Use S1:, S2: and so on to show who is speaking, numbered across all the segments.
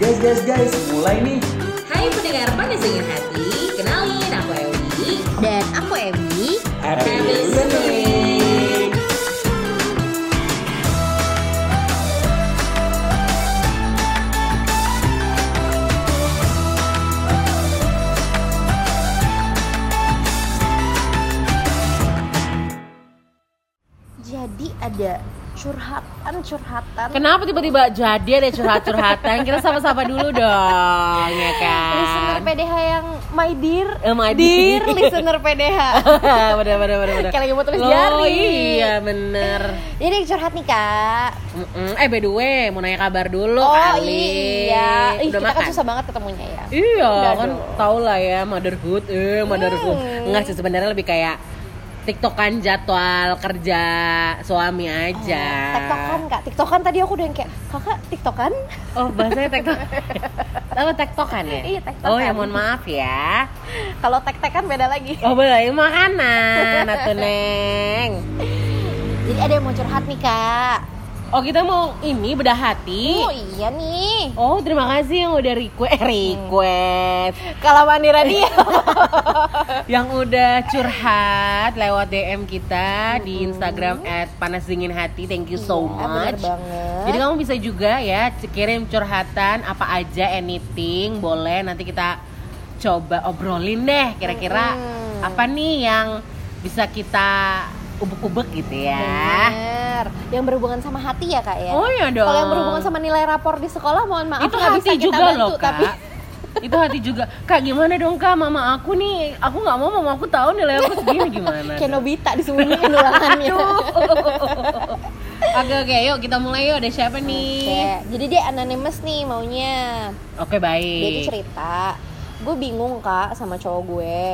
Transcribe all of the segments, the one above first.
S1: podcast guys, mulai nih.
S2: Hai pendengar pada singin hati, kenalin aku Ewi.
S3: Dan aku Emmy.
S1: Happy
S2: listening.
S3: Jadi ada curhatan-curhatan.
S4: Kenapa tiba-tiba jadi ada curhat-curhatan? Kita sama-sama dulu dong, ya
S3: Listener
S4: kan?
S3: PDH yang my dear.
S4: Eh, my
S3: dear
S4: dear.
S3: listener PDH.
S4: bener, bener, bener, bener.
S3: Kayak lagi mau tulis
S4: Loh,
S3: jari.
S4: iya bener.
S3: Jadi ada yang curhat nih kak.
S4: Mm-mm. Eh by the way, mau nanya kabar dulu kali.
S3: Oh, iya. Ih,
S4: Udah
S3: kita
S4: makan?
S3: kan susah banget ketemunya ya.
S4: Iya,
S3: Udah
S4: kan
S3: dong.
S4: tau lah ya motherhood, eh motherhood.
S3: Hmm.
S4: Enggak sih sebenarnya lebih kayak tiktokan jadwal kerja suami aja.
S3: Oh, Tiktokan kak. Tiktokan tadi aku udah yang kayak kakak tiktokan.
S4: Oh, bahasanya tiktok. Apa tiktokan ya?
S3: Iya, tiktokan.
S4: Oh, ya mohon maaf ya.
S3: Kalau tek kan beda lagi.
S4: Oh boleh makanan atau neng.
S3: Jadi ada yang mau curhat nih kak.
S4: Oh kita mau ini bedah hati.
S3: Oh iya nih.
S4: Oh terima kasih yang udah request Eh, request.
S3: Kalau mandi
S4: Eh,
S3: radio.
S4: Yang udah curhat lewat DM kita di Instagram at panas dingin hati. Thank you so
S3: Iya, bener
S4: much.
S3: banget.
S4: Jadi kamu bisa juga ya c- kirim curhatan apa aja anything boleh nanti kita coba obrolin deh kira-kira
S3: Mm-mm.
S4: apa nih yang bisa kita ubek-ubek gitu ya.
S3: Bener. Yang berhubungan sama hati ya kak ya.
S4: Oh, iya dong.
S3: Kalau yang berhubungan sama nilai rapor di sekolah, mohon maaf
S4: itu
S3: nggak
S4: hati
S3: bisa kita
S4: juga
S3: bantu,
S4: loh kak
S3: Tapi
S4: itu hati juga kak gimana dong kak mama aku nih aku nggak mau mama aku tahu nilai aku segini gimana
S3: kayak
S4: dong?
S3: Nobita disembunyiin ulangannya.
S4: oke oke yuk kita mulai yuk ada siapa nih
S3: Oke, jadi dia anonymous nih maunya.
S4: oke
S3: Dia tuh
S4: baik
S3: cerita, gue bingung kak sama cowok gue.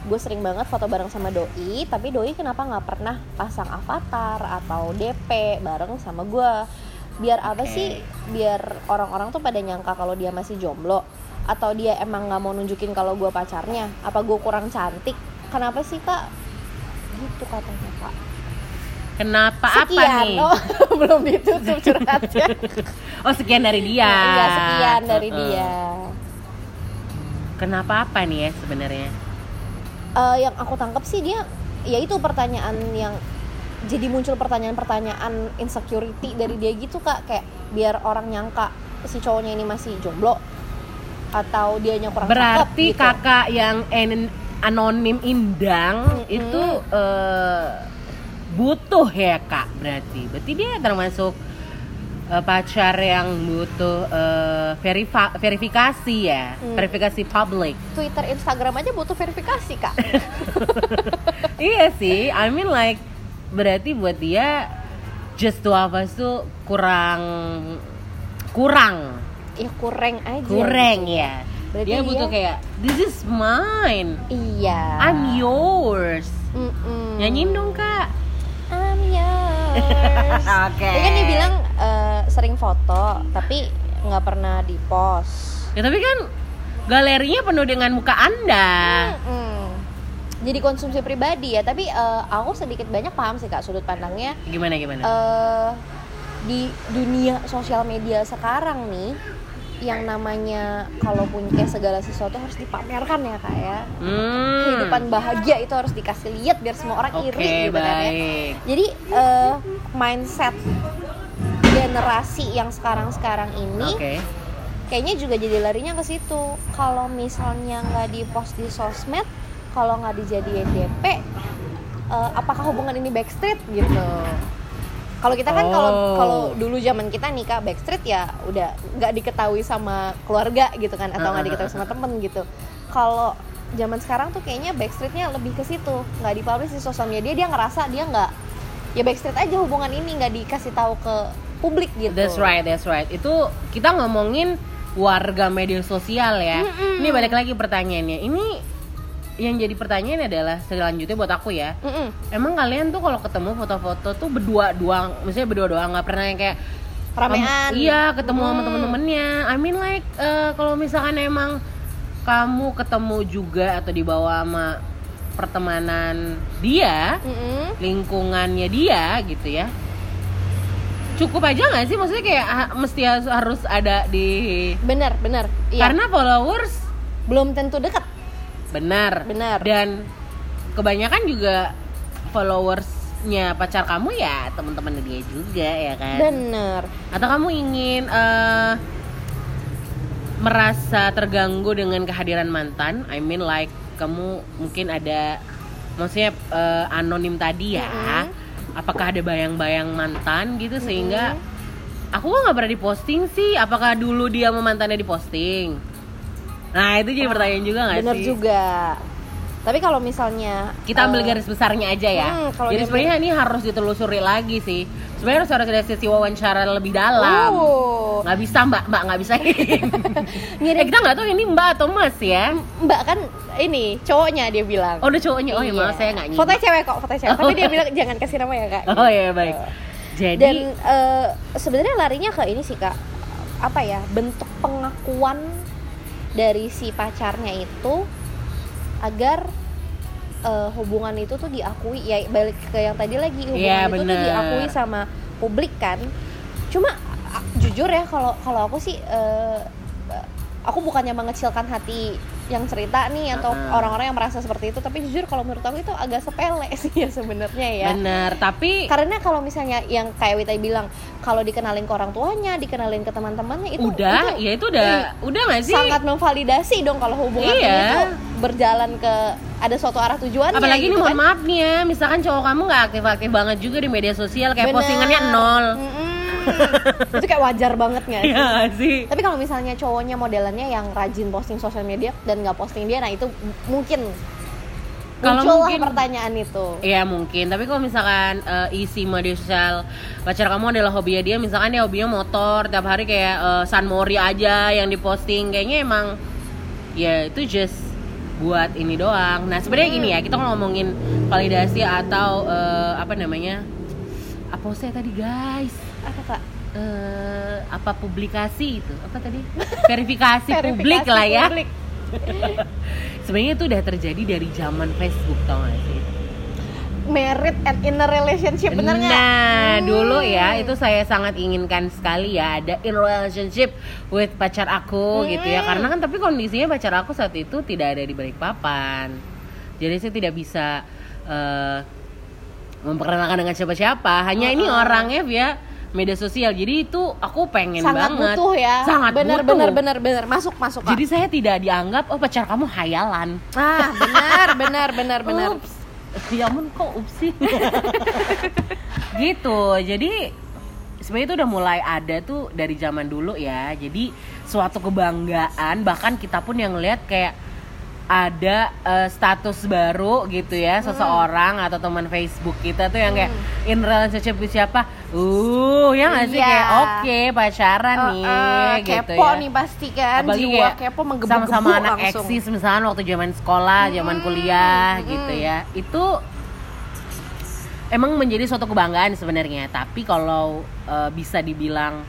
S3: Gue sering banget foto bareng sama doi, tapi doi kenapa nggak pernah pasang avatar atau DP bareng sama gue? Biar apa
S4: Oke.
S3: sih? Biar orang-orang tuh pada nyangka kalau dia masih jomblo atau dia emang nggak mau nunjukin kalau gue pacarnya? Apa gue kurang cantik? Kenapa sih kak? Gitu katanya kak.
S4: kenapa apa
S3: Sekian.
S4: nih
S3: Oh, belum ditutup curhatnya.
S4: Oh, sekian dari dia
S3: Iya, sekian dari
S4: Uh-uh.
S3: dia.
S4: kenapa apa nih ya sebenarnya
S3: Eh, yang aku tangkap sih dia ya itu pertanyaan yang jadi muncul pertanyaan-pertanyaan insecurity dari dia gitu kak kayak biar orang nyangka si cowoknya ini masih jomblo atau dianya kurang
S4: berarti
S3: cakep, gitu.
S4: kakak yang en- anonim indang
S3: Mm-mm.
S4: itu eh, butuh ya kak berarti berarti dia termasuk eh, pacar yang butuh eh, verifa- verifikasi ya
S3: Mm.
S4: verifikasi publik
S3: Twitter Instagram aja butuh verifikasi kak
S4: iya sih I mean like berarti buat dia just to apa tuh kurang kurang
S3: ya kurang aja
S4: kurang ya
S3: Iya, Berarti
S4: dia
S3: dia-
S4: butuh kayak this is mine
S3: iya
S4: I'm yours
S3: Mm-mm.
S4: Nyanyiin dong kak
S3: I'm yours.
S4: Oke.
S3: Dia kan dia bilang eh, sering foto tapi nggak pernah di post.
S4: Ya tapi kan galerinya penuh dengan muka anda
S3: Jadi konsumsi pribadi ya, tapi eh, aku sedikit banyak paham sih kak sudut pandangnya
S4: Gimana gimana?
S3: Hmm. eh di dunia sosial media sekarang nih yang namanya kalau punya segala sesuatu harus dipamerkan ya kak ya
S4: Hmm.
S3: kehidupan bahagia itu harus dikasih lihat biar semua orang
S4: Oke
S3: iri gitu kan ya.
S4: baik
S3: Jadi eh, mindset generasi yang sekarang-sekarang ini gitu.
S4: Oke
S3: kayaknya juga jadi larinya ke situ. Kalau misalnya nggak di post di sosmed, kalau nggak dijadiin DP, eh, apakah hubungan ini backstreet gitu? Kalau kita kan kalau
S4: Oh.
S3: kalau dulu zaman kita nikah backstreet ya udah nggak diketahui sama keluarga gitu kan
S4: Ah,
S3: atau nggak diketahui sama temen gitu. Kalau zaman sekarang tuh kayaknya backstreetnya lebih ke situ, nggak dipublish di sosial media dia ngerasa dia nggak ya backstreet aja hubungan ini nggak dikasih tahu ke publik gitu.
S4: That's right that's right Itu kita ngomongin warga media sosial ya Ini balik lagi pertanyaannya Ini yang jadi pertanyaan adalah selanjutnya buat aku ya
S3: Mm-mm.
S4: Emang kalian tuh kalau ketemu foto-foto tuh berdua doang, misalnya berdua doang nggak pernah yang kayak
S3: Ramean.
S4: kamu- iya, ketemu sama
S3: Hmm.
S4: temen-temennya. I mean like eh, kalau misalkan emang kamu ketemu juga atau dibawa sama pertemanan dia,
S3: Mm-mm.
S4: lingkungannya dia gitu ya. cukup aja nggak sih maksudnya kayak ha- mesti has- harus ada di
S3: bener bener iya.
S4: karena followers
S3: belum tentu deket
S4: benar
S3: Benar.
S4: dan kebanyakan juga followersnya pacar kamu ya teman-teman dia juga ya kan
S3: bener
S4: atau kamu ingin eh, merasa terganggu dengan kehadiran mantan I mean like kamu mungkin ada maksudnya eh, anonim tadi ya apakah ada bayang-bayang mantan gitu sehingga aku kok nggak pernah diposting sih apakah dulu dia sama mantannya diposting nah itu jadi pertanyaan juga nggak sih
S3: bener juga tapi kalau misalnya
S4: kita ambil
S3: eh,
S4: garis besarnya aja ya.
S3: Hmm, kalau
S4: Jadi
S3: dia
S4: sebenarnya ini harus ditelusuri lagi sih. Sebenarnya harus harus ada sesi wawancara lebih dalam.
S3: oh,
S4: Nggak bisa mbak, mbak nggak bisa. eh, kita nggak tahu ini mbak atau mas ya.
S3: mbak kan ini cowoknya dia bilang
S4: Oh udah cowoknya, oh ya
S3: Iya.
S4: maaf saya nggak nyimak.
S3: Fotonya cewek kok, fotonya cewek. Tapi dia bilang jangan kasih nama ya kak.
S4: Oh ya baik. Jadi
S3: Dan eh, sebenarnya larinya ke ini sih kak, apa ya bentuk pengakuan dari si pacarnya itu agar eh, hubungan itu tuh diakui ya balik ke yang tadi lagi hubungan
S4: Iya,
S3: itu tuh
S4: bener.
S3: diakui sama publik kan. Cuma a- jujur ya kalau kalau aku sih eh, aku bukannya mengecilkan hati yang cerita nih atau
S4: Mm-mm.
S3: orang-orang yang merasa seperti itu tapi jujur kalau menurut aku itu agak sepele sih ya sebenarnya ya
S4: bener, tapi
S3: karena kalau misalnya yang kayak Wita bilang kalau dikenalin ke orang tuanya dikenalin ke teman-temannya itu
S4: udah,
S3: itu iya.
S4: ya itu udah, udah nggak sih?
S3: sangat memvalidasi dong kalau hubungan
S4: Iya.
S3: itu berjalan ke ada suatu arah tujuannya
S4: Apalagi ini
S3: gitu
S4: mohon
S3: kan.
S4: maaf nih ya, misalkan cowok kamu nggak aktif-aktif banget juga di media sosial, kayak
S3: Bener.
S4: postingannya nol.
S3: Mm-mm. itu kayak wajar banget nggak sih?
S4: Iya nggak sih.
S3: tapi kalau misalnya cowoknya modelannya yang rajin posting sosial media dan nggak posting dia nah itu m- mungkin
S4: Kalau
S3: muncullah
S4: mungkin-
S3: pertanyaan itu
S4: Iya mungkin, tapi kalau misalkan eh, isi media sosial pacar kamu adalah hobinya dia, misalkan dia hobinya motor, tiap hari kayak eh, San Mori aja yang diposting, kayaknya emang ya itu just buat ini doang. Nah sebenarnya gini ya, kita ngomongin validasi atau eh, apa namanya, apa saya tadi guys?
S3: apa Ah, kak
S4: Eh, apa publikasi itu? Apa tadi? Verifikasi,
S3: Verifikasi
S4: publik lah ya.
S3: publik.
S4: Sebenarnya itu udah terjadi dari zaman Facebook tau gak sih?
S3: merit and inner relationship bener nggak
S4: Nah,
S3: Hmm.
S4: dulu ya itu saya sangat inginkan sekali ya ada in relationship with pacar aku gitu
S3: Hmm.
S4: ya. Karena kan tapi kondisinya pacar aku saat itu tidak ada di Balikpapan. Jadi saya tidak bisa eh, memperkenalkan dengan siapa-siapa. Hanya ini
S3: Hmm.
S4: orangnya via media sosial. Jadi itu aku pengen
S3: sangat
S4: banget.
S3: butuh ya
S4: Sangat
S3: bener
S4: butuh.
S3: bener bener bener masuk masuk Kak.
S4: Jadi saya tidak dianggap oh pacar kamu hayalan.
S3: ah benar benar benar benar
S4: Ups. Ya ampun kok ups sih. gitu. Jadi sebenarnya itu udah mulai ada tuh dari zaman dulu ya. Jadi suatu kebanggaan bahkan kita pun yang lihat kayak ada eh, status baru gitu ya seseorang atau teman Facebook kita tuh yang kayak in relationship with siapa? Uh, ya nggak sih
S3: Mm. Iya.
S4: kayak oke pacaran
S3: Eh,
S4: nih
S3: eh,
S4: gitu
S3: kepo
S4: ya
S3: nih pasti kan
S4: apalagi
S3: jiwa
S4: kayak
S3: kepo menggebu-gebu
S4: sama-sama anak
S3: langsung Hmm,
S4: eksis misalnya waktu zaman sekolah, zaman kuliah gitu ya. Itu emang menjadi suatu kebanggaan sebenarnya, tapi kalau eh, bisa dibilang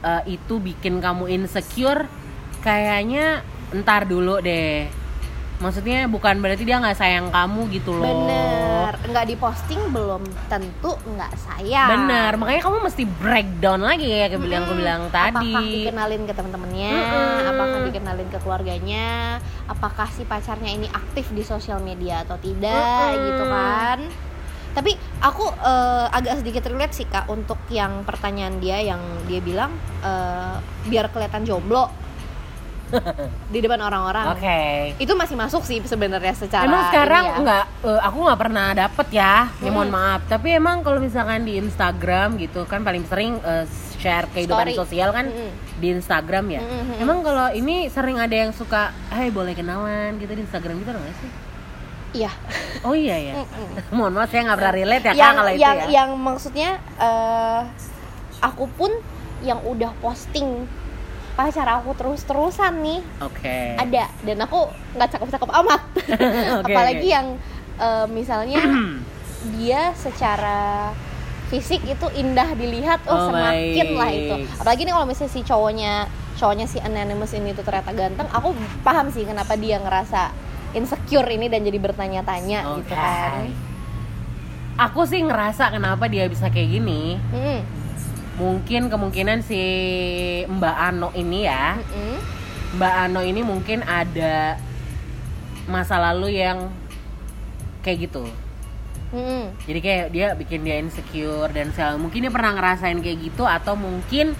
S4: eh, itu bikin kamu insecure, kayaknya entar dulu deh. Maksudnya bukan berarti dia nggak sayang kamu gitu loh.
S3: bener Ya. nggak diposting belum tentu nggak sayang
S4: Bener, makanya kamu mesti breakdown lagi ya, aku bilang aku bilang tadi.
S3: Hmm, apakah dikenalin ke teman-temannya
S4: Mm-mm.
S3: apakah dikenalin ke keluarganya apakah si pacarnya ini aktif di sosial media atau tidak
S4: Mm-mm.
S3: gitu kan tapi aku eh, agak sedikit relate sih kak untuk yang pertanyaan dia yang dia bilang eh, biar kelihatan jomblo di depan orang-orang
S4: Oke.
S3: itu masih masuk sih sebenarnya secara
S4: emang
S3: ini
S4: sekarang
S3: ya. Hmm.
S4: nggak eh, aku nggak pernah dapet ya ya mohon maaf tapi emang kalau misalkan di Instagram gitu kan paling sering eh, share kehidupan
S3: Story. Hmm.
S4: sosial kan
S3: Mm-mm.
S4: di Instagram ya
S3: Mm-mm.
S4: emang kalau ini sering ada yang suka hey boleh kenalan gitu di Instagram gitu nggak sih
S3: iya
S4: oh iya ya
S3: Mm-mm.
S4: mohon maaf saya nggak pernah relate ya
S3: Hmm, yang
S4: Kak, kalau itu
S3: yang
S4: ya
S3: yang maksudnya eh aku pun yang udah posting pacar aku terus-terusan nih
S4: oke
S3: ada dan aku nggak cakep-cakep amat
S4: Oke,
S3: apalagi
S4: oke.
S3: yang eh, misalnya
S4: Hmm.
S3: dia secara fisik itu indah dilihat oh,
S4: Oh,
S3: semakin lah itu
S4: baik.
S3: apalagi nih kalau misalnya si cowoknya cowoknya si anonymous ini tuh ternyata ganteng aku paham sih
S4: Oh,
S3: kenapa
S4: kan.
S3: gitu dia ngerasa insecure ini dan jadi bertanya-tanya
S4: Oke.
S3: gitu kan
S4: aku sih ngerasa kenapa dia bisa kayak gini
S3: Mm-mm.
S4: mungkin kemungkinan si Mbak Ano ini ya
S3: Mm-mm.
S4: Mbak Ano ini mungkin ada masa lalu yang kayak gitu
S3: Mm-mm.
S4: jadi kayak dia bikin dia insecure dan segala mungkin dia pernah ngerasain kayak gitu atau mungkin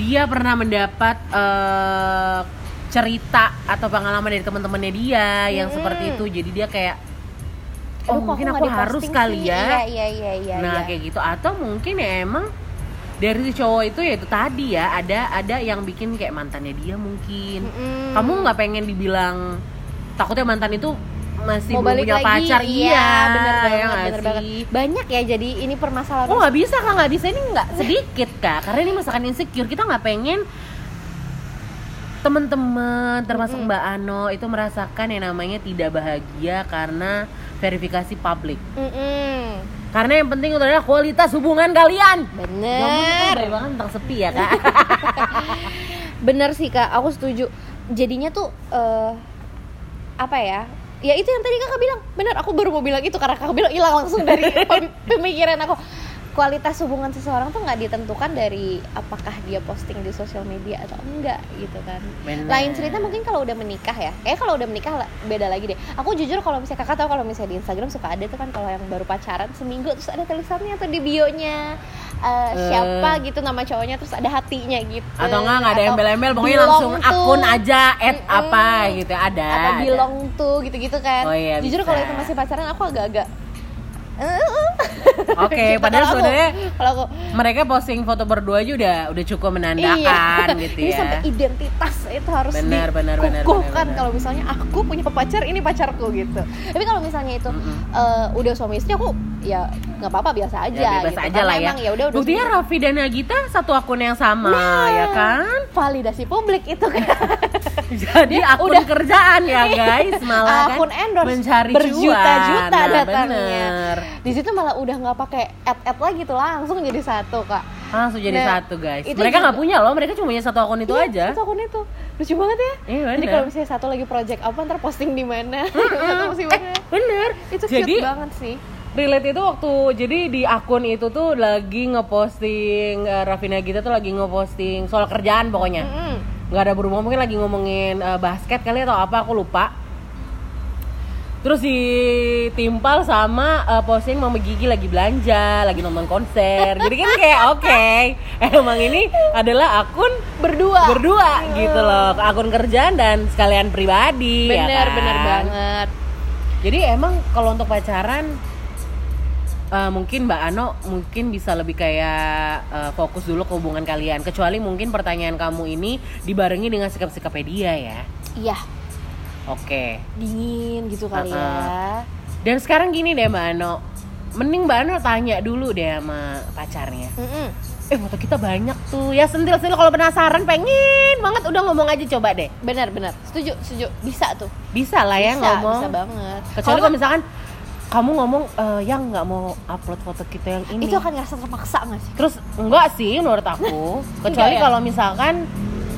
S4: dia pernah mendapat eh, cerita atau pengalaman dari teman-temannya dia yang
S3: Mm.
S4: seperti itu jadi dia kayak oh
S3: Aduh, kok
S4: mungkin
S3: nggak
S4: aku
S3: di-posting
S4: harus kali
S3: sih?
S4: ya
S3: Iya, iya, iya, iya.
S4: nah
S3: iya.
S4: kayak gitu atau mungkin ya emang dari si cowok itu ya itu tadi ya ada ada yang bikin kayak mantannya dia mungkin
S3: Mm-mm.
S4: kamu nggak pengen dibilang takutnya mantan itu masih
S3: mau
S4: belum
S3: balik
S4: punya
S3: lagi
S4: pacar
S3: iya,
S4: ya
S3: bener banget,
S4: nggak sih?
S3: bener banget. banyak ya jadi ini permasalahan
S4: Oh nggak bisa kak, nggak bisa ini nggak sedikit kak Karena ini masakan insecure, kita nggak pengen teman-teman termasuk Mbak Ano itu merasakan yang namanya tidak bahagia karena verifikasi publik
S3: Mm-mm.
S4: karena yang penting itu adalah kualitas hubungan kalian
S3: bener
S4: dari banget tentang sepi ya kak
S3: bener sih kak aku setuju jadinya tuh eh, apa ya ya itu yang tadi kakak bilang bener aku baru mau bilang itu karena kakak bilang hilang langsung dari pem- pemikiran aku kualitas hubungan seseorang tuh nggak ditentukan dari apakah dia posting di sosial media atau enggak gitu kan
S4: Bener.
S3: lain cerita mungkin kalau udah menikah ya kayak kalau udah menikah la- beda lagi deh aku jujur kalau misalnya kakak tahu kalau misalnya di Instagram suka ada tuh kan kalau yang baru pacaran seminggu terus ada tulisannya tuh di bionya eh, siapa gitu nama cowoknya terus ada hatinya gitu
S4: atau enggak nggak ada
S3: Atau
S4: embel-embel pokoknya
S3: belong
S4: langsung
S3: tuh.
S4: akun aja add
S3: Mm-mm.
S4: apa gitu ada
S3: atau
S4: ada.
S3: belong tuh gitu-gitu kan
S4: Oh iya,
S3: jujur
S4: bisa.
S3: kalau itu masih pacaran aku agak-agak
S4: oke padahal
S3: gitu. Kalau aku-
S4: sebenarnya
S3: kalau aku
S4: mereka posting foto berdua aja udah udah cukup menandakan Iya. gitu
S3: Iya. ini
S4: ya
S3: sampai identitas itu harus
S4: Benar, benar, benar, benar,
S3: dikukuhkan
S4: benar.
S3: kalau misalnya aku punya pacar ini pacarku gitu tapi kalau misalnya itu
S4: Mm-mm.
S3: eh, udah suami istri aku ya nggak apa-apa biasa aja
S4: ya bebas
S3: gitu.
S4: aja
S3: Karena
S4: lah ya.
S3: emang ya udah Nah. udah
S4: Buktinya
S3: suami-
S4: Raffi dan Nagita satu akun yang sama ya kan.
S3: validasi publik itu kan
S4: Jadi akun
S3: udah-
S4: kerjaan ya guys malah
S3: akun
S4: kan
S3: endorse
S4: mencari cuan.
S3: berjuta-juta
S4: Nah,
S3: datangnya
S4: bener.
S3: di situ malah udah nggak pakai ad ad lagi tuh langsung jadi satu kak
S4: Ah, Langsung jadi
S3: Nah,
S4: satu guys.
S3: itu
S4: Mereka
S3: juga-
S4: nggak punya loh, mereka cuma punya satu akun itu
S3: Iya,
S4: aja.
S3: satu akun itu lucu banget ya
S4: Iya,
S3: jadi
S4: bener.
S3: kalau misalnya satu lagi project apa ntar posting di mana Satu mesti mana.
S4: Bener.
S3: itu cute
S4: Eh. jadi
S3: banget sih
S4: relate itu waktu jadi di akun itu tuh lagi ngeposting eh, Raffi Nagita tuh lagi ngeposting soal kerjaan pokoknya.
S3: Mm-mm.
S4: nggak ada berhubungan mungkin lagi ngomongin eh, basket kali atau apa aku lupa terus ditimpal sama eh, posting mama gigi lagi belanja lagi nonton konser jadi kan kayak oke emang ini adalah akun
S3: berdua Iya.
S4: berdua gitu loh akun kerjaan dan sekalian pribadi ya
S3: bener
S4: kan?
S3: bener banget
S4: jadi emang kalau untuk pacaran eh, mungkin Mbak Ano mungkin bisa lebih kayak eh, fokus dulu ke hubungan kalian kecuali mungkin pertanyaan kamu ini dibarengi dengan sikap-sikapnya dia ya
S3: iya
S4: oke
S3: dingin
S4: Ah,
S3: gitu kali ya
S4: dan sekarang gini deh Mbak Ano mending Mbak Ano tanya dulu deh sama pacarnya
S3: Mm-mm.
S4: eh foto kita banyak tuh ya sentil-sentil kalau penasaran pengen banget udah ngomong aja coba deh
S3: bener bener setuju setuju bisa tuh
S4: bisa lah ya
S3: bisa
S4: ngomong
S3: bisa banget
S4: kecuali
S3: Kalau
S4: kalau misalkan kamu ngomong "Eh, yang nggak mau upload foto kita yang ini
S3: itu akan ngerasa terpaksa nggak sih
S4: Terus enggak sih menurut aku. Kecuali
S3: Enggak ya?
S4: kalau misalkan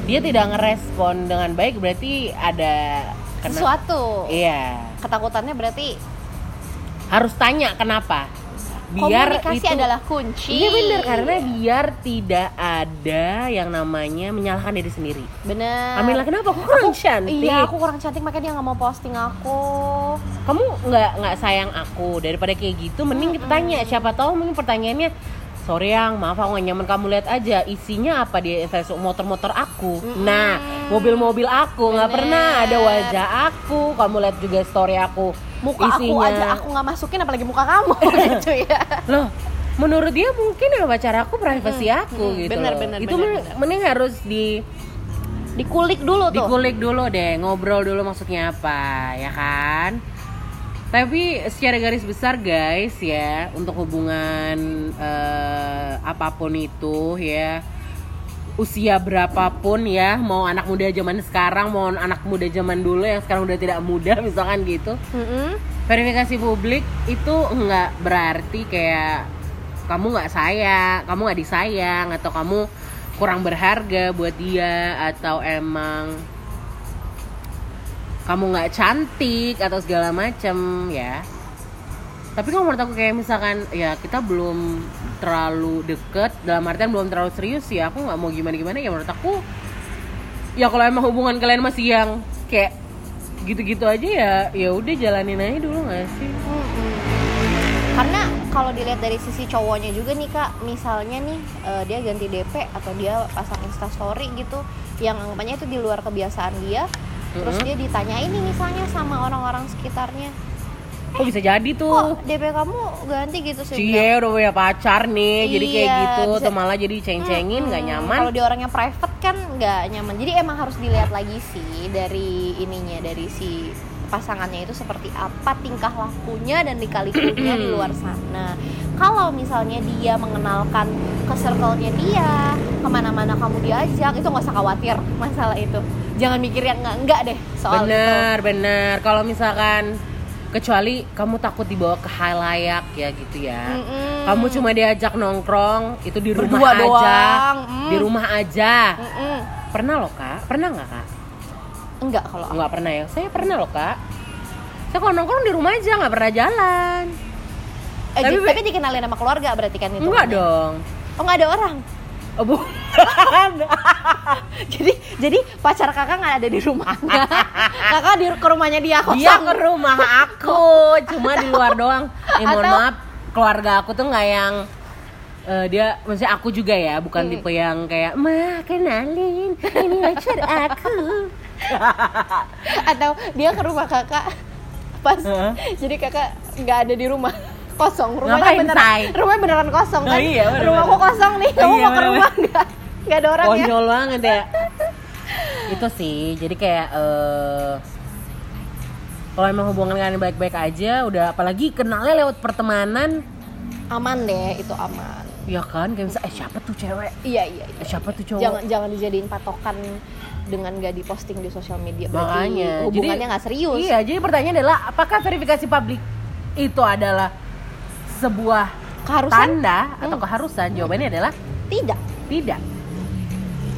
S4: dia tidak ngerespon dengan baik berarti ada kena-
S3: sesuatu
S4: Iya.
S3: ketakutannya berarti
S4: Harus tanya kenapa. Biar
S3: komunikasi
S4: itu
S3: adalah kunci
S4: Iya bener karena biar tidak ada yang namanya menyalahkan diri sendiri.
S3: bener
S4: Amila kenapa kok kurang cantik?
S3: Iya, Nah. aku kurang cantik makanya dia nggak mau posting aku.
S4: Kamu nggak nggak sayang aku daripada kayak gitu mending kita tanya siapa tahu mungkin pertanyaannya Sorry yang maaf aku gak nyaman kamu lihat aja isinya apa di Facebook motor-motor aku.
S3: Mm-mm.
S4: Nah, mobil-mobil aku nggak
S3: Bener.
S4: pernah ada wajah aku. Kamu lihat juga story aku.
S3: Muka aku
S4: isinya.
S3: aja aku nggak masukin apalagi muka kamu gitu ya.
S4: Loh, menurut dia mungkin ya pacar aku privasi
S3: Mm-mm.
S4: aku
S3: Mm-mm.
S4: gitu.
S3: Bener,
S4: loh.
S3: bener,
S4: Itu
S3: bener,
S4: men-
S3: bener.
S4: mending harus di
S3: Dikulik dulu tuh.
S4: dikulik dulu deh ngobrol dulu maksudnya apa ya kan tapi secara garis besar guys ya untuk hubungan eh, apapun itu ya usia berapapun ya mau anak muda zaman sekarang mau anak muda zaman dulu yang sekarang udah tidak muda misalkan gitu
S3: Mm-mm.
S4: verifikasi publik itu nggak berarti kayak kamu nggak sayang, kamu nggak disayang atau kamu kurang berharga buat dia atau emang kamu nggak cantik atau segala macem ya tapi kalau menurut aku kayak misalkan ya kita belum terlalu deket dalam artian belum terlalu serius ya aku nggak mau gimana gimana ya menurut aku ya kalau emang hubungan kalian masih yang kayak gitu-gitu aja ya ya udah jalanin aja dulu nggak sih
S3: Mm-mm. Karena kalau dilihat dari sisi cowoknya juga nih kak, misalnya nih eh, dia ganti DP atau dia pasang instastory gitu, yang anggapannya itu di luar kebiasaan dia, terus
S4: Mm-mm.
S3: dia ditanya ini misalnya sama orang-orang sekitarnya,
S4: kok bisa jadi tuh
S3: kok DP kamu ganti gitu sih?
S4: Cie udah punya pacar nih, jadi kayak
S3: Iya,
S4: gitu
S3: bisa-
S4: tuh malah jadi ceng-cengin nggak nyaman.
S3: Kalau dia orangnya private kan nggak nyaman. Jadi emang harus dilihat lagi sih dari ininya dari si pasangannya itu seperti apa tingkah lakunya dan dikali-kalinya di luar sana. Kalau misalnya dia mengenalkan ke circle-nya dia, kemana-mana kamu diajak, itu nggak usah khawatir masalah itu. Jangan mikir yang nggak-nggak deh soal itu.
S4: bener bener. Kalau misalkan kecuali kamu takut dibawa ke halayak ya gitu ya.
S3: Mm-mm.
S4: Kamu cuma diajak nongkrong itu di rumah
S3: Berdua
S4: aja,
S3: doang, mm.
S4: di rumah aja.
S3: Mm-mm.
S4: Pernah loh kak? Pernah nggak kak?
S3: Enggak kalau aku.
S4: Nggak pernah ya. Saya pernah loh kak. Saya kalau nongkrong di rumah aja nggak pernah jalan.
S3: Eh,
S4: Tapi-
S3: di- tapi, dikenalin sama keluarga berarti kan itu.
S4: Enggak dong.
S3: Oh nggak ada orang.
S4: Oh, bu-
S3: jadi jadi pacar kakak nggak ada di rumahnya kakak di ke rumahnya dia kosong
S4: dia ke rumah aku cuma di luar doang eh, mohon
S3: Atau-
S4: maaf keluarga aku tuh nggak yang eh, dia maksudnya aku juga ya bukan
S3: Hmm.
S4: tipe yang kayak ma kenalin ini pacar aku
S3: atau dia ke rumah kakak pas
S4: Heeh.
S3: jadi kakak nggak ada di rumah kosong rumahnya
S4: Ngapain,
S3: beneran
S4: Shay?
S3: rumahnya beneran kosong
S4: Oh,
S3: kan
S4: iya, bener-bener.
S3: rumahku kosong nih kamu
S4: Iya,
S3: mau ke
S4: bener-bener.
S3: rumah nggak nggak ada orang ya
S4: konyol banget ya itu sih jadi kayak eh kalau emang hubungan kalian baik-baik aja udah apalagi kenalnya lewat pertemanan
S3: aman deh itu aman
S4: ya kan kayak misalnya eh siapa tuh cewek
S3: iya iya, iya.
S4: eh, siapa tuh cowok
S3: jangan jangan dijadiin patokan dengan nggak diposting di sosial media berarti
S4: makanya
S3: hubungannya
S4: Jadi-
S3: nggak serius
S4: iya jadi pertanyaan adalah apakah verifikasi publik itu adalah sebuah
S3: keharusan Hmm.
S4: tanda atau keharusan jawabannya adalah
S3: tidak
S4: tidak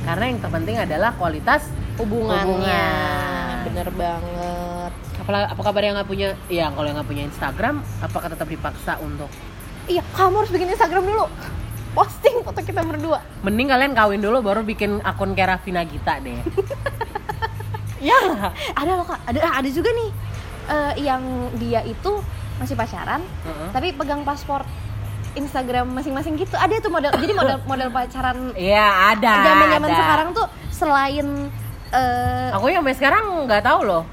S4: karena yang terpenting adalah kualitas
S3: hubungannya
S4: Hubungan.
S3: bener banget
S4: apalagi apa kabar yang nggak punya ya kalau yang nggak punya Instagram apakah tetap dipaksa untuk
S3: Iya, kamu harus bikin Instagram dulu. Posting foto kita berdua.
S4: mending kalian kawin dulu baru bikin akun Kerafina Gita deh ya
S3: Ada loh kak, ada ah, ada juga nih eh, yang dia itu masih pacaran,
S4: Heeh.
S3: tapi pegang paspor Instagram masing-masing gitu. Ada tuh model, jadi model model pacaran
S4: Iya ada
S3: zaman-zaman
S4: ada.
S3: sekarang tuh selain eh,
S4: aku yang sampai sekarang nggak tahu loh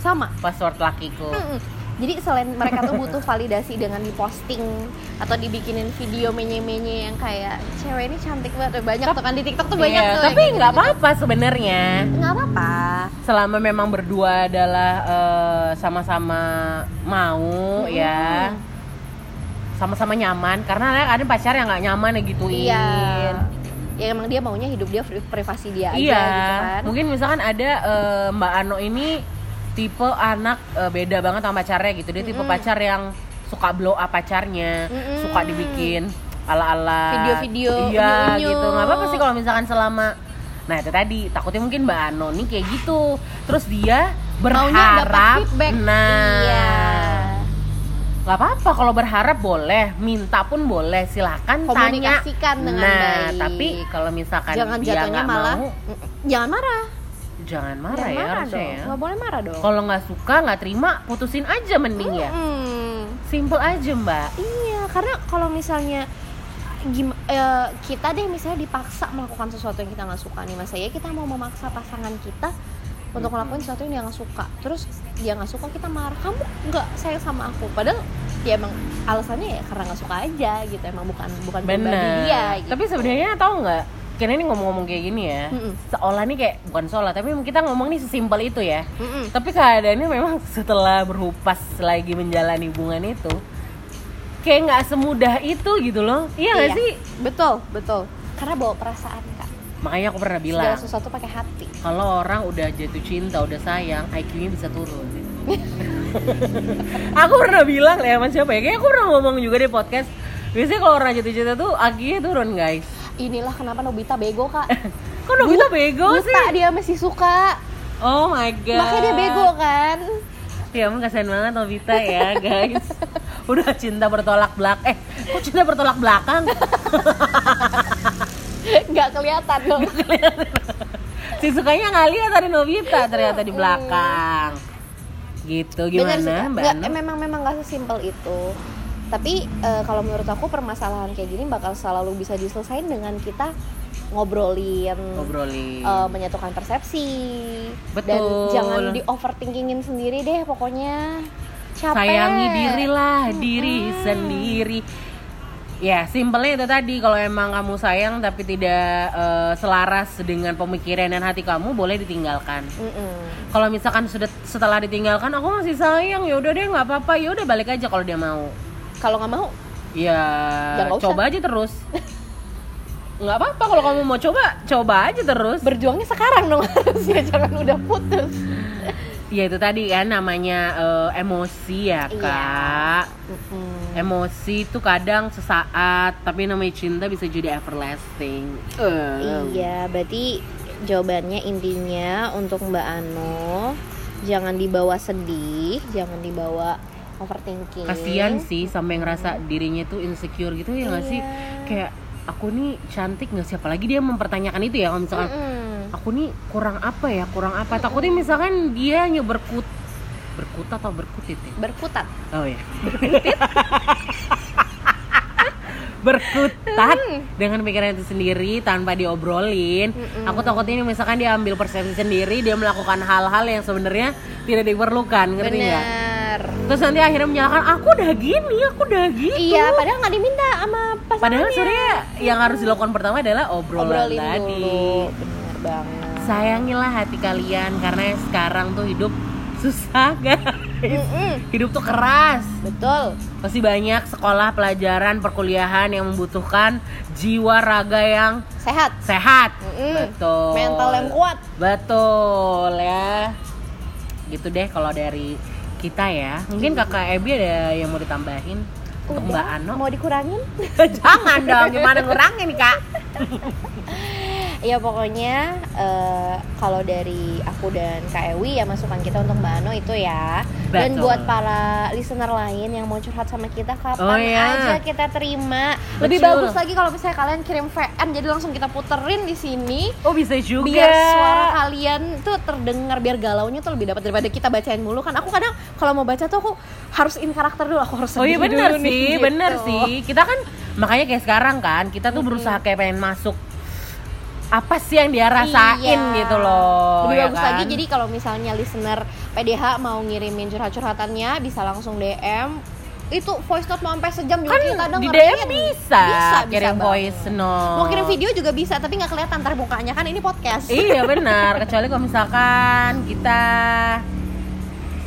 S3: sama.
S4: password lakiku
S3: Mm-mm. Jadi selain mereka tuh butuh validasi dengan diposting atau dibikinin video menye-menye yang kayak cewek ini cantik banget banyak tuh kan di TikTok tuh banyak
S4: Iya,
S3: tuh. gitu.
S4: tapi nggak apa-apa sebenarnya
S3: Nggak apa-apa.
S4: selama memang berdua adalah eh, sama-sama mau
S3: Mm.
S4: ya sama-sama nyaman karena ada pacar yang nggak nyaman ya gituin
S3: Iya. Ya emang dia maunya hidup dia pri- privasi dia aja
S4: Iya.
S3: gitu kan.
S4: mungkin misalkan ada eh, Mbak Ano ini tipe anak eh, beda banget sama pacarnya gitu dia tipe
S3: Mm-mm.
S4: pacar yang suka blow up pacarnya
S3: Mm-mm.
S4: suka dibikin ala-ala
S3: Video-video,
S4: iya
S3: unyu-unyu.
S4: gitu nggak apa-apa sih kalau misalkan selama nah itu tadi takutnya mungkin Mbak Ano nih kayak gitu terus dia
S3: Maunya dapat
S4: berharap
S3: feedback.
S4: nah
S3: Iya.
S4: nggak apa-apa kalau berharap boleh minta pun boleh silakan tanya
S3: Komunikasikan dengan
S4: nah
S3: baik.
S4: tapi kalau misalkan
S3: Jangan
S4: Kan dia
S3: jatuhnya
S4: nggak
S3: malah
S4: mau,
S3: jangan marah.
S4: jangan marah
S3: jangan
S4: ya
S3: marah
S4: harusnya
S3: dong.
S4: ya.
S3: Nggak boleh marah dong.
S4: Kalau nggak suka nggak terima putusin aja mending ya.
S3: Mm-mm.
S4: Simple aja mbak.
S3: Iya, karena kalau misalnya gim- eh, kita deh misalnya dipaksa melakukan sesuatu yang kita nggak suka nih mas saya kita mau memaksa pasangan kita untuk ngelakuin sesuatu yang dia nggak suka terus dia nggak suka kita marah kamu nggak sayang sama aku padahal ya emang alasannya ya karena nggak suka aja gitu emang bukan bukan pribadi
S4: Bener.
S3: dia gitu.
S4: Tapi sebenarnya tahu nggak? Karena ini ngomong-ngomong kayak gini ya.
S3: Mm-mm.
S4: Seolah nih kayak bukan seolah tapi kita ngomong nih sesimpel itu ya.
S3: Mm-mm.
S4: Tapi keadaannya memang setelah berhupas lagi menjalani hubungan itu kayak nggak semudah itu gitu loh. Iya nggak sih?
S3: Betul, betul. Karena bawa perasaan, Kak.
S4: Makanya aku pernah bilang.
S3: Segala sesuatu pakai hati.
S4: kalau orang udah jatuh cinta, udah sayang, IQ-nya bisa turun. aku pernah bilang ya sama siapa ya, kayaknya aku pernah ngomong juga di podcast. Biasanya kalau orang jatuh cinta tuh IQ-nya turun guys.
S3: Inilah kenapa Nobita bego, Kak.
S4: Kok Nobita bego sih?
S3: Buta dia masih suka.
S4: Oh my god. Iya,
S3: Makanya dia bego kan.
S4: Ya ampun kasihan banget Nobita ya guys. udah cinta bertolak belak eh kok cinta bertolak belakang
S3: nggak kelihatan dong
S4: si sukanya nggak lihat ada Novita ternyata di belakang gitu
S3: Bener sih,
S4: gimana
S3: Kak.
S4: mbak
S3: Nggak,
S4: Ana?
S3: eh, memang memang nggak sesimpel itu tapi eh, kalau menurut aku permasalahan kayak gini bakal selalu bisa diselesain dengan kita ngobrolin
S4: ngobrolin
S3: eh, menyatukan persepsi dan
S4: Betul.
S3: jangan di overthinkingin sendiri deh pokoknya capek Hmm.
S4: sayangi dirilah diri sendiri ya simpelnya itu tadi kalau emang kamu sayang tapi tidak eh, selaras dengan pemikiran dan hati kamu boleh ditinggalkan
S3: Mm-mm.
S4: kalau misalkan sudah setelah ditinggalkan aku masih sayang ya udah deh nggak apa-apa ya udah balik aja kalau dia mau
S3: kalau nggak mau
S4: ya
S3: Ya, nggak usah.
S4: coba aja terus nggak apa-apa kalau kamu mau coba coba aja terus
S3: berjuangnya sekarang dong harusnya jangan udah putus
S4: ya itu tadi kan namanya eh, emosi ya
S3: Iya.
S4: kak
S3: Mm-mm.
S4: Emosi itu kadang sesaat, tapi namanya cinta bisa jadi everlasting. Eh,
S3: Iya, berarti jawabannya intinya untuk Mbak Ano jangan dibawa sedih, jangan dibawa overthinking.
S4: Kasian sih sampai ngerasa dirinya tuh insecure gitu ya nggak sih?
S3: Iya.
S4: Kayak aku nih cantik nggak siapa lagi dia mempertanyakan itu ya kalau misalkan
S3: Mm-mm.
S4: aku nih kurang apa ya kurang apa takutnya misalkan dia berkut berkut atau berkutit ya?
S3: Berkutat.
S4: Oh ya. berkutat
S3: Hmm.
S4: dengan pikiran itu sendiri tanpa diobrolin.
S3: Mm-mm.
S4: Aku takutnya ini misalkan dia ambil persepsi sendiri, dia melakukan hal-hal yang sebenarnya tidak diperlukan, ngerti nggak?
S3: Bener.
S4: Terus nanti akhirnya menyalahkan aku udah gini, aku udah gitu.
S3: Iya, padahal nggak diminta sama pasangan.
S4: Padahal sebenarnya yang harus dilakukan pertama adalah obrolan
S3: Obrolin
S4: tadi.
S3: dulu. Bener banget.
S4: Sayangilah hati kalian karena sekarang tuh hidup susah guys.
S3: Mm-mm.
S4: Hidup tuh keras.
S3: Betul.
S4: Masih banyak sekolah, pelajaran, perkuliahan yang membutuhkan jiwa raga yang
S3: Sehat.
S4: sehat.
S3: Mm-mm.
S4: Betul.
S3: Mental yang kuat.
S4: Betul ya. Gitu deh kalau dari kita ya. Mungkin Kakak Ebi ada yang mau ditambahin untuk
S3: Udah,
S4: Mbak Ano.
S3: Mau dikurangin?
S4: Jangan dong, gimana ngurangin, Kak?
S3: Ya pokoknya eh, kalau dari aku dan Kak Ewi ya masukan kita untuk Mbak Ano itu ya. Dan
S4: Betul.
S3: buat para listener lain yang mau curhat sama kita kapan
S4: Oh, iya.
S3: aja kita terima. Lebih
S4: Betul.
S3: bagus lagi kalau misalnya kalian kirim VN jadi langsung kita puterin di sini.
S4: Oh, bisa juga.
S3: Biar suara kalian tuh terdengar biar galaunya tuh lebih dapat daripada kita bacain mulu kan. Aku kadang kalau mau baca tuh aku harus in karakter dulu, aku harus
S4: Oh iya
S3: sedih
S4: benar
S3: dulu
S4: sih,
S3: nih,
S4: benar
S3: gitu.
S4: sih. Kita kan makanya kayak sekarang kan, kita tuh berusaha kayak pengen masuk apa sih yang dia rasain
S3: Iya.
S4: gitu loh.
S3: lebih
S4: ya
S3: bagus
S4: kan?
S3: lagi jadi kalau misalnya listener PDH mau ngirimin curhat-curhatannya bisa langsung DM itu voice note mau sampai sejam juga
S4: kan
S3: kita
S4: di
S3: dengerin.
S4: DM bisa,
S3: bisa, bisa
S4: kirim
S3: banget.
S4: voice note.
S3: mau kirim video juga bisa tapi nggak kelihatan ntar mukanya kan ini podcast
S4: Iya benar, kecuali kalau misalkan kita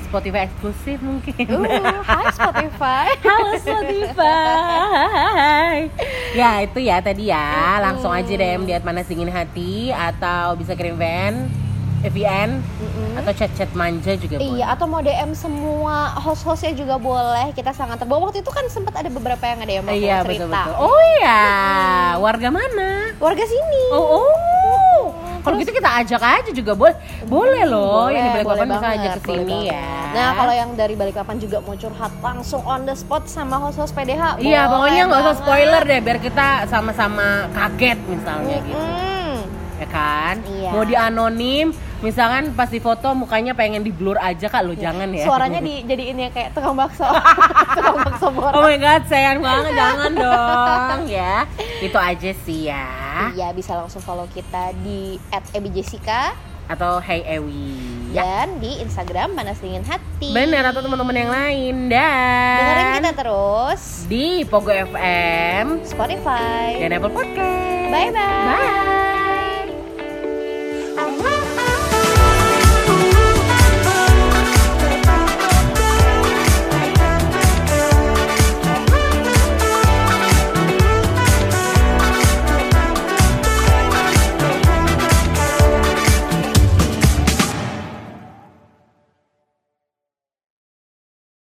S4: Spotify eksklusif mungkin.
S3: Uh, Hai Spotify
S4: Halo Spotify. ya itu ya tadi ya, langsung aja DM di mana dingin hati atau bisa kirim VN, VN
S3: Mm-mm.
S4: atau chat-chat manja juga boleh.
S3: Iya, atau mau DM semua host-hostnya juga boleh. Kita sangat terbawa. Waktu itu kan sempat ada beberapa yang ada yang mau
S4: Iya betul
S3: cerita.
S4: betul. Oh iya, warga mana?
S3: Warga sini.
S4: Oh oh. Kalau gitu kita ajak aja juga boleh. Boleh loh, yang di Balikpapan bisa
S3: banget,
S4: ajak ke
S3: boleh
S4: sini
S3: banget.
S4: ya.
S3: Nah, kalau yang dari Balikpapan juga mau curhat langsung on the spot sama host-host PDH.
S4: Iya,
S3: boleh
S4: pokoknya nggak usah
S3: banget.
S4: spoiler deh, biar kita sama-sama kaget misalnya gitu,
S3: Mm-mm.
S4: ya kan?
S3: Iya.
S4: Mau di anonim, misalkan pas di foto mukanya pengen di blur aja kak, lo jangan ya.
S3: Iya. Suaranya dijadiin ya kayak tukang bakso. tukang bakso
S4: Oh
S3: borak.
S4: my god, sayang banget, jangan dong ya. Itu aja sih ya.
S3: Iya, bisa langsung follow kita di @ebijessica
S4: Atau Hey Ewi.
S3: dan di Instagram Panas Dingin Hati.
S4: Bener atau teman-teman yang lain dan
S3: Dengerin kita terus
S4: di Pogo FM
S3: Spotify.
S4: dan Apple Podcast.
S3: Bye-bye.
S4: Bye.